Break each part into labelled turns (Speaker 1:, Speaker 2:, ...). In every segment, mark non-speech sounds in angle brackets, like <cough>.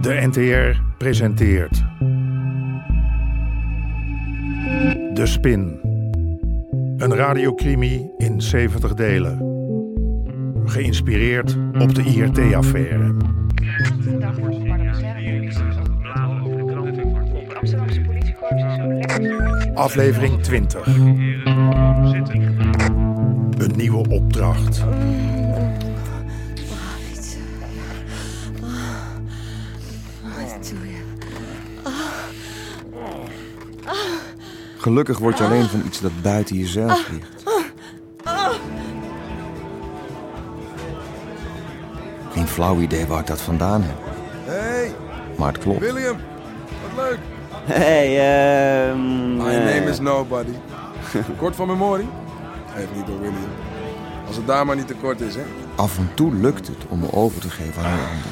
Speaker 1: De NTR presenteert. De Spin. Een radiocrimi in 70 delen. Geïnspireerd op de IRT-affaire.
Speaker 2: Dag wordt op
Speaker 3: eh,
Speaker 2: De Amsterdamse politiekorps is zo lekker.
Speaker 1: Aflevering 20. Een nieuwe opdracht.
Speaker 4: Iets, eh, ah, Wat doe je?
Speaker 5: Gelukkig word je alleen van iets dat buiten jezelf ligt. Geen flauw idee waar ik dat vandaan heb.
Speaker 6: Hey,
Speaker 5: Maar het klopt.
Speaker 6: William. Wat leuk.
Speaker 7: Hey, ehm...
Speaker 6: My
Speaker 7: eh,
Speaker 6: name is
Speaker 5: <laughs>
Speaker 6: nobody. Kort van memorie? Even niet door William. Als het daar maar niet te kort is, hè.
Speaker 5: Af en toe lukt het om me over te geven aan een ander.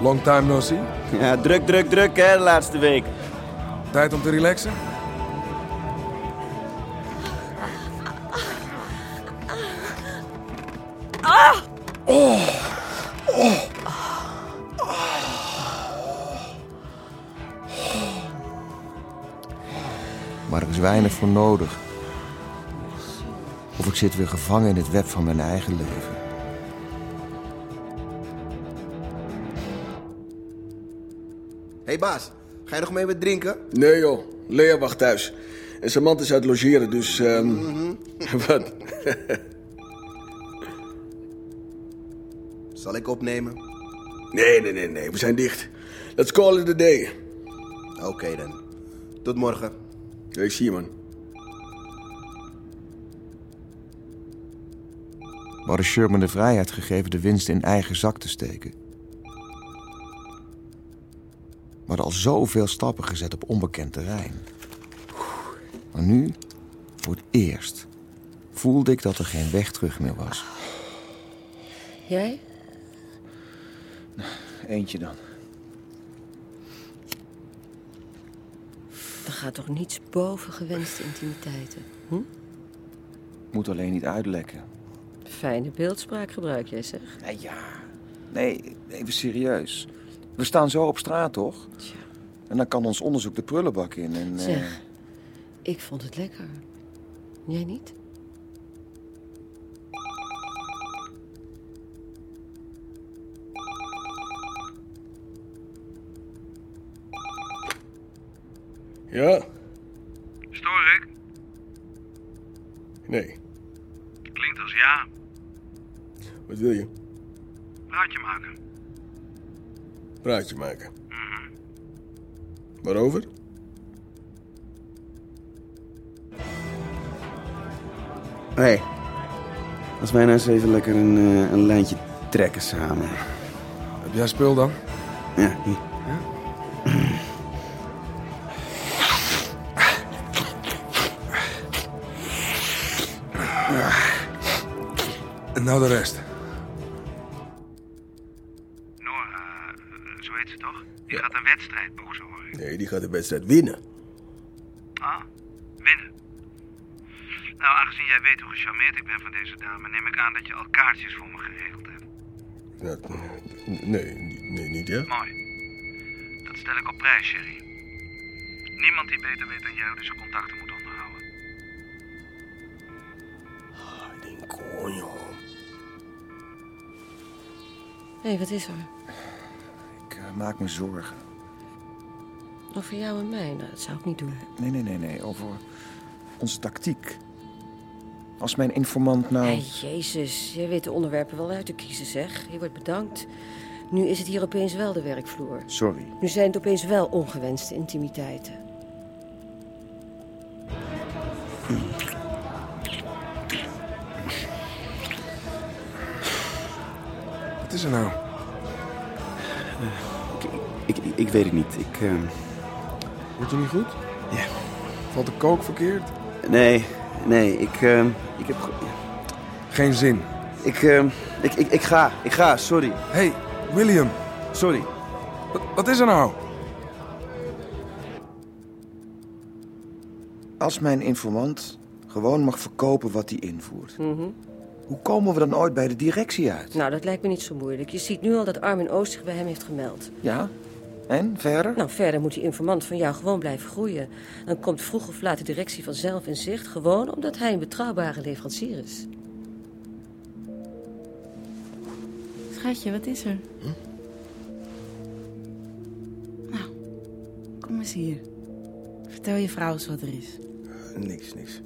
Speaker 6: Long time no see.
Speaker 7: Ja, druk, druk, druk hè, de laatste week.
Speaker 6: Tijd om te relaxen?
Speaker 5: Maar er is weinig voor nodig. Of ik zit weer gevangen in het web van mijn eigen leven.
Speaker 8: Hé hey baas, ga je nog mee wat drinken?
Speaker 9: Nee joh, Lea wacht thuis. En Samantha is uit logeren, dus... ehm, <laughs> Wat?
Speaker 8: Zal ik opnemen?
Speaker 9: Nee, nee, nee, nee, we zijn dicht. Let's call it a day.
Speaker 8: Oké dan. Tot morgen.
Speaker 9: Ik zie je, man.
Speaker 5: Maar de Sherman de vrijheid gegeven de winst in eigen zak te steken. Maar al zoveel stappen gezet op onbekend terrein. Maar nu, voor het eerst, voelde ik dat er geen weg terug meer was.
Speaker 4: Jij?
Speaker 5: Eentje dan.
Speaker 4: Er gaat toch niets boven gewenste intimiteiten?
Speaker 5: Moet alleen niet uitlekken.
Speaker 4: Fijne beeldspraak gebruik jij, zeg.
Speaker 5: Nee, ja. Nee, even serieus. We staan zo op straat, toch?
Speaker 4: Tja.
Speaker 5: En dan kan ons onderzoek de prullenbak in. En, eh,
Speaker 4: Zeg, ik vond het lekker. Jij niet?
Speaker 9: Ja?
Speaker 3: Stoor ik?
Speaker 9: Nee.
Speaker 3: Klinkt als ja.
Speaker 9: Wat wil je?
Speaker 3: Praatje maken.
Speaker 9: Praatje maken. Mhm. Waarover?
Speaker 10: Hé, als wij nou eens even lekker een, eh, een lijntje trekken samen.
Speaker 6: Heb jij spul dan?
Speaker 10: Ja, hier.
Speaker 6: En nou de rest.
Speaker 3: Nora, eh, zo heet ze toch? Die gaat een wedstrijd boven, hoor ik.
Speaker 9: Nee, die gaat de wedstrijd winnen.
Speaker 3: Ah, winnen. Nou, aangezien jij weet hoe gecharmeerd ik ben van deze dame, neem ik aan dat je al kaartjes voor me geregeld hebt.
Speaker 9: Ja, Nou, nee, nee, niet ja?
Speaker 3: Mooi. Dat stel ik op prijs, Sherry. Niemand die beter weet dan jij hoe deze contacten moet onderhouden.
Speaker 4: Hé, wat is er?
Speaker 5: Ik eh, maak me zorgen.
Speaker 4: Over jou en mij? Nou, dat zou ik niet doen.
Speaker 5: Nee, nee, nee, nee. Over onze tactiek. Als mijn informant nou...
Speaker 4: Hé, jezus. Jij weet de onderwerpen wel uit te kiezen, zeg. Je wordt bedankt. Nu is het hier opeens wel de werkvloer.
Speaker 5: Sorry.
Speaker 4: Nu zijn het opeens wel ongewenste intimiteiten.
Speaker 6: Wat is er nou?
Speaker 10: Ik, ik, ik weet het niet. Ik, eh,
Speaker 6: Wordt je niet goed? Ja. Valt de kook verkeerd?
Speaker 10: nee, nee, ik, eh, ik heb... ge-
Speaker 6: Geen zin.
Speaker 10: Ik, eh, ik, ik, ik ga, ik ga, sorry,
Speaker 6: Hey, William.
Speaker 10: sorry.
Speaker 6: Wat, wat is er nou?
Speaker 5: Als mijn informant gewoon mag verkopen wat hij invoert. Hoe komen we dan ooit bij de directie uit?
Speaker 4: Nou, dat lijkt me niet zo moeilijk. Je ziet nu al dat Armin Oost zich bij hem heeft gemeld.
Speaker 5: Ja? En verder?
Speaker 4: Nou, verder moet die informant van jou gewoon blijven groeien. Dan komt vroeg of laat de directie vanzelf in zicht, gewoon omdat hij een betrouwbare leverancier is.
Speaker 11: Schatje, wat is er? Nou, kom eens hier. Vertel je vrouw eens wat er is.
Speaker 8: Niks, niks.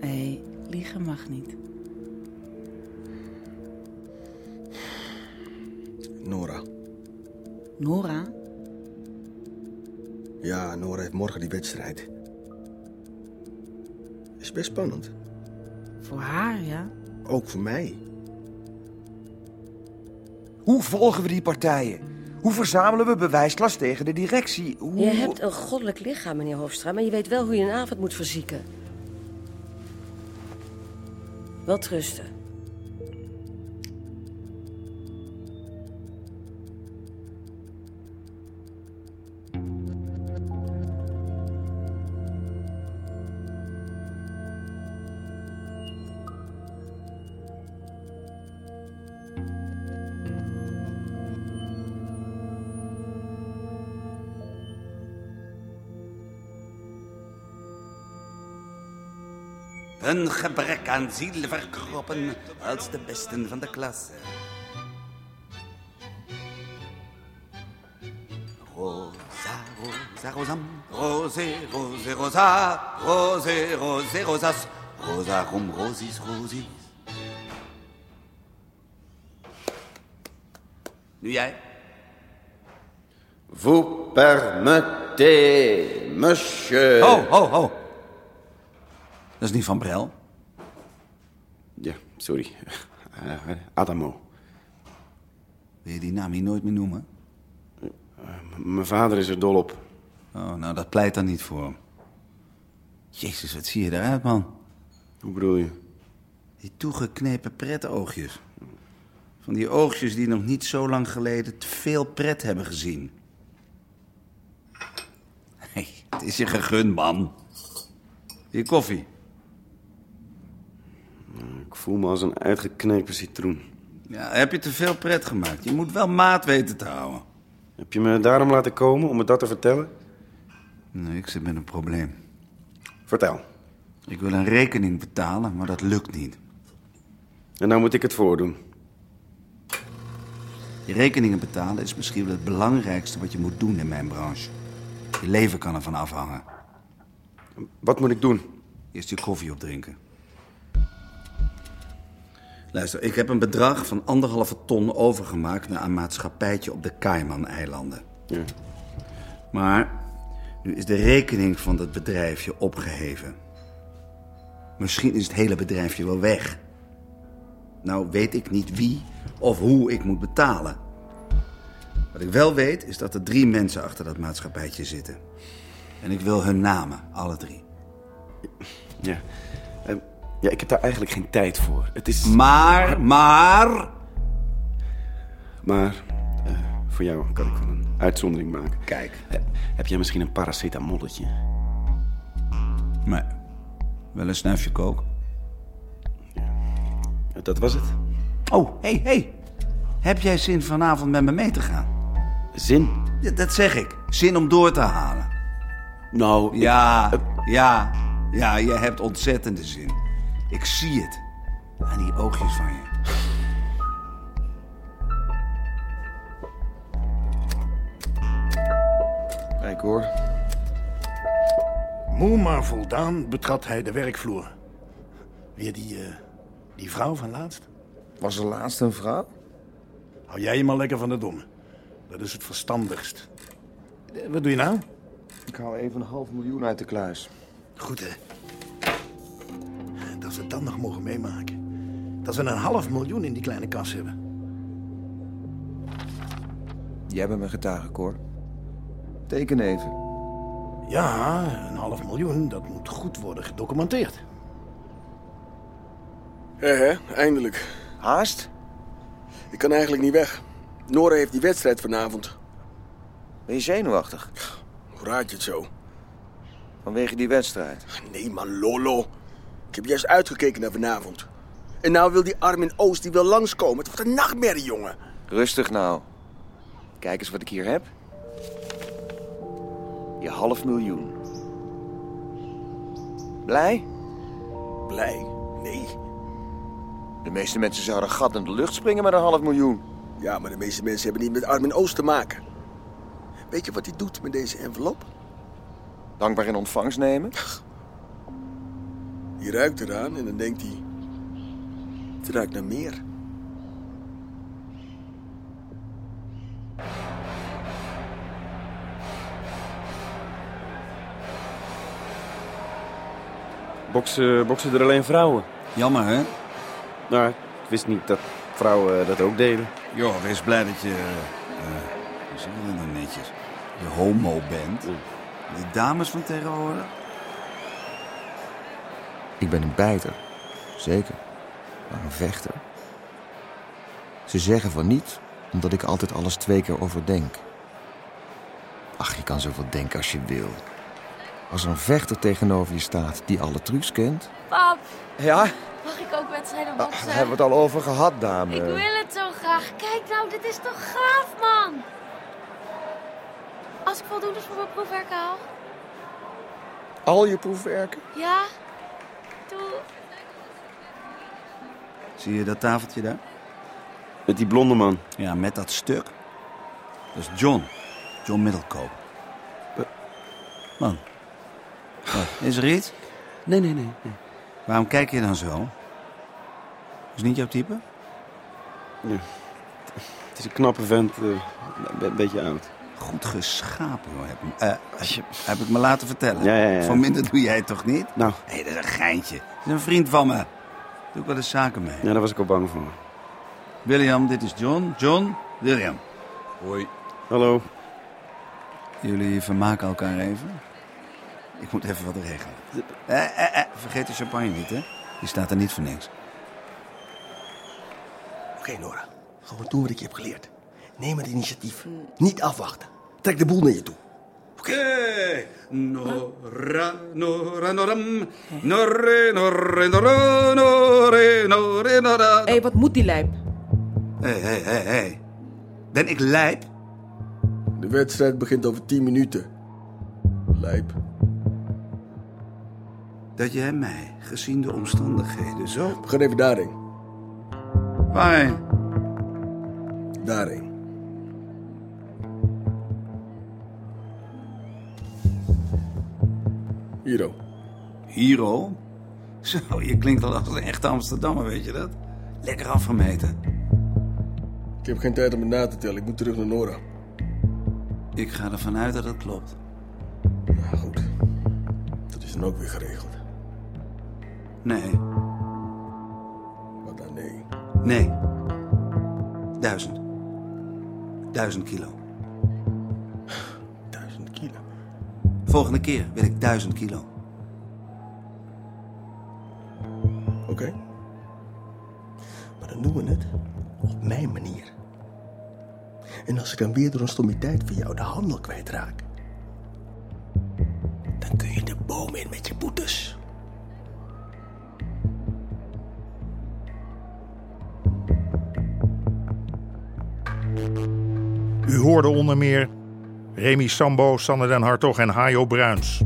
Speaker 11: Nee, liegen mag niet.
Speaker 8: Nora.
Speaker 11: Nora?
Speaker 8: Ja, Nora heeft morgen die wedstrijd. Is best spannend.
Speaker 11: Voor haar, ja?
Speaker 8: Ook voor mij.
Speaker 5: Hoe volgen we die partijen? Hoe verzamelen we bewijslast tegen de directie? Hoe...
Speaker 4: Je hebt een goddelijk lichaam, meneer Hofstra, maar je weet wel hoe je een avond moet verzieken. Wel trusten.
Speaker 12: Een gebrek aan ziel verkroppen als de besten van de klasse. Rosa, rosa, rosam, rosé, rosé, rosa, rosé, rosé, rosas, rosa, rom, rosis, rosis. Nu jij.
Speaker 7: Vous permettez, monsieur.
Speaker 10: Oh.
Speaker 12: Ho, ho, ho. Oh, Dat is niet van Brel.
Speaker 7: Ja, sorry. Eh, Adamo.
Speaker 12: Wil je die naam hier nooit meer noemen?
Speaker 7: Mijn vader is er dol op.
Speaker 12: Oh, nou, dat pleit dan niet voor hem. Jezus, wat zie je eruit, man?
Speaker 7: Hoe bedoel je?
Speaker 12: Die toegeknepen pretoogjes. Van die oogjes die nog niet zo lang geleden te veel pret hebben gezien. Hey, het is je gegund, man. Je koffie.
Speaker 7: Ik voel me als een uitgeknepen citroen.
Speaker 12: Ja, heb je te veel pret gemaakt. Je moet wel maat weten te houden.
Speaker 7: Heb je me daarom laten komen om me dat te vertellen?
Speaker 12: Nee, Nou, ik zit met een probleem.
Speaker 7: Vertel.
Speaker 12: Ik wil een rekening betalen, maar dat lukt niet.
Speaker 7: En nou moet ik het voordoen.
Speaker 12: Je rekeningen betalen is misschien wel het belangrijkste wat je moet doen in mijn branche. Je leven kan ervan afhangen.
Speaker 7: Wat moet ik doen?
Speaker 12: Eerst je koffie opdrinken. Luister, ik heb een bedrag van anderhalve ton overgemaakt naar een maatschappijtje op de Cayman-eilanden.
Speaker 7: Ja.
Speaker 12: Maar nu is de rekening van dat bedrijfje opgeheven. Misschien is het hele bedrijfje wel weg. Nou weet ik niet wie of hoe ik moet betalen. Wat ik wel weet is dat er drie mensen achter dat maatschappijtje zitten. En ik wil hun namen, alle drie.
Speaker 7: Ja. Eh, ja, ik heb daar eigenlijk geen tijd voor. Het is...
Speaker 12: Maar, maar...
Speaker 7: Maar eh, voor jou kan ik wel een uitzondering maken. Eh,
Speaker 12: Kijk.
Speaker 7: heb jij misschien een paracetamolletje?
Speaker 12: Nee. Wel een snuifje kook.
Speaker 7: Dat was het.
Speaker 12: Oh, hé, hey, hé. Hey. Heb jij zin vanavond met me mee te gaan?
Speaker 7: Zin?
Speaker 12: Ja, dat zeg ik. Zin om door te halen.
Speaker 7: Nou, ik-
Speaker 12: Ja, ja, ja, je hebt ontzettende zin. Ik zie het. Aan die oogjes van je.
Speaker 5: Kijk hoor.
Speaker 1: Moe maar voldaan betrad hij de werkvloer. Weer die, eh, die vrouw van laatst?
Speaker 5: Was er laatst een vrouw?
Speaker 1: Hou jij je maar lekker van de domme. Dat is het verstandigst. Eh, Wat doe je nou?
Speaker 5: Ik haal even een half miljoen uit de kluis.
Speaker 1: Goed, hè. Dat we het dan nog mogen meemaken. Dat we een half miljoen in die kleine kas hebben.
Speaker 5: Jij bent mijn getuige, Cor. Teken even.
Speaker 1: Ja, een half miljoen, dat moet goed worden gedocumenteerd.
Speaker 9: Hé, hé, eindelijk.
Speaker 5: Haast?
Speaker 9: Ik kan eigenlijk niet weg. Nora heeft die wedstrijd vanavond.
Speaker 5: Ben je zenuwachtig?
Speaker 9: Hoe raad je het zo?
Speaker 5: Vanwege die wedstrijd.
Speaker 9: Nee, man, lolo. Ik heb juist uitgekeken naar vanavond. En nou wil die Armin Oost die wil langskomen. Het wordt een nachtmerrie, jongen.
Speaker 5: Rustig nou. Kijk eens wat ik hier heb. Je half miljoen. Blij?
Speaker 9: Blij? Nee.
Speaker 5: De meeste mensen zouden gat in de lucht springen met een half miljoen.
Speaker 9: Ja, maar de meeste mensen hebben niet met Armin Oost te maken. Weet je wat hij doet met deze envelop?
Speaker 5: Dankbaar in ontvangst nemen?
Speaker 9: Je ruikt eraan en dan denkt hij... Het ruikt naar meer.
Speaker 7: Boksen, boksen er alleen vrouwen?
Speaker 12: Jammer, hè?
Speaker 7: Nou, ik wist niet dat vrouwen eh, dat ook deden.
Speaker 12: Joh, wees blij dat je... eh, Hoe zeg je dat nou netjes? Je homo bent. Die dames van tegenwoordig...
Speaker 5: Ik ben een bijter. Zeker. Maar een vechter. Ze zeggen van niet, omdat ik altijd alles twee keer overdenk. Ach, je kan zoveel denken als je wil. Als er een vechter tegenover je staat die alle trucs kent...
Speaker 4: Pap,
Speaker 5: Ja,
Speaker 4: mag ik ook wedstrijden
Speaker 5: daar
Speaker 4: boksen?
Speaker 5: hebben we het al over gehad, dame.
Speaker 4: Ik wil het zo graag. Kijk nou, dit is toch gaaf, man? Als ik voldoende voor mijn proefwerk haal?
Speaker 5: Al je proefwerken?
Speaker 4: Ja? Doe...
Speaker 12: Zie je dat tafeltje daar?
Speaker 7: Met die blonde man.
Speaker 12: Ja, met dat stuk. Dat is John. John Middelkoop.
Speaker 1: Eh.
Speaker 12: Man. Wat, is er iets?
Speaker 13: Nee, nee, nee. nee.
Speaker 12: Waarom kijk je dan zo? Is niet jouw type?
Speaker 7: Ja. Het is een knappe vent, eh, een be- beetje oud.
Speaker 12: Goed geschapen, hoor. Heb, eh, heb, heb ik me laten vertellen.
Speaker 7: Ja, ja, ja.
Speaker 12: Van minder doe jij het toch niet?
Speaker 7: Nou.
Speaker 12: Hé, dat is een geintje. Dat is een vriend van me. Doe ik wel eens zaken mee.
Speaker 7: Ja, daar was ik al bang voor.
Speaker 12: William, dit is John. John, William.
Speaker 7: Hoi. Hallo.
Speaker 12: Jullie vermaken elkaar even. Ik moet even wat regelen. Eh, eh, eh, vergeet de champagne niet, hè? Die staat er niet voor niks.
Speaker 9: Oké, Nora. Gewoon doen wat ik je heb geleerd. Neem het initiatief. Niet afwachten. Trek de boel naar je toe.
Speaker 14: Oké. Nora, Nora, Noram. Norre, Norre, Norre, Norre, Norre, Nora.
Speaker 11: Hé, wat moet die lijp?
Speaker 12: Hé, hé, hé, hé. Ben ik lijp?
Speaker 9: De wedstrijd begint over 10 minuten. Lijp.
Speaker 12: Dat jij mij, gezien de omstandigheden, zo...
Speaker 9: We gaan even daarheen.
Speaker 12: Waarheen?
Speaker 9: Daarheen. Hiro.
Speaker 12: Hiro? Zo, je klinkt al als een echte Amsterdammer, weet je dat? Lekker afgemeten.
Speaker 9: Ik heb geen tijd om het na te tellen. Ik moet terug naar Nora.
Speaker 12: Ik ga ervan uit dat dat klopt.
Speaker 9: Nou goed. Dat is dan ook weer geregeld.
Speaker 12: Nee.
Speaker 9: Wat dan nee?
Speaker 12: Nee. Duizend. Duizend kilo.
Speaker 9: Duizend kilo?
Speaker 12: Volgende keer wil ik duizend kilo.
Speaker 9: Oké. Maar dan doen we het op mijn manier. En als ik dan weer door een stommiteit van jou de handel kwijtraak... dan kun je de boom in met je boetes.
Speaker 1: U hoorde onder meer Remy Sambo, Sander den Hartog en Hajo Bruins.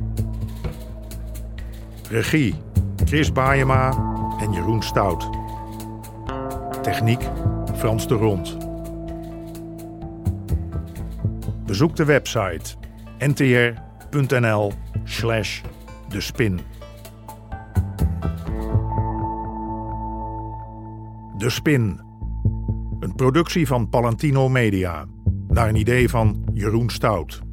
Speaker 1: Regie Chris Baayema en Jeroen Stout. Techniek Frans de Rond. Bezoek de website ntr.nl slash de spin. De Spin. Een productie van Palantino Media. Naar een idee van Jeroen Stout.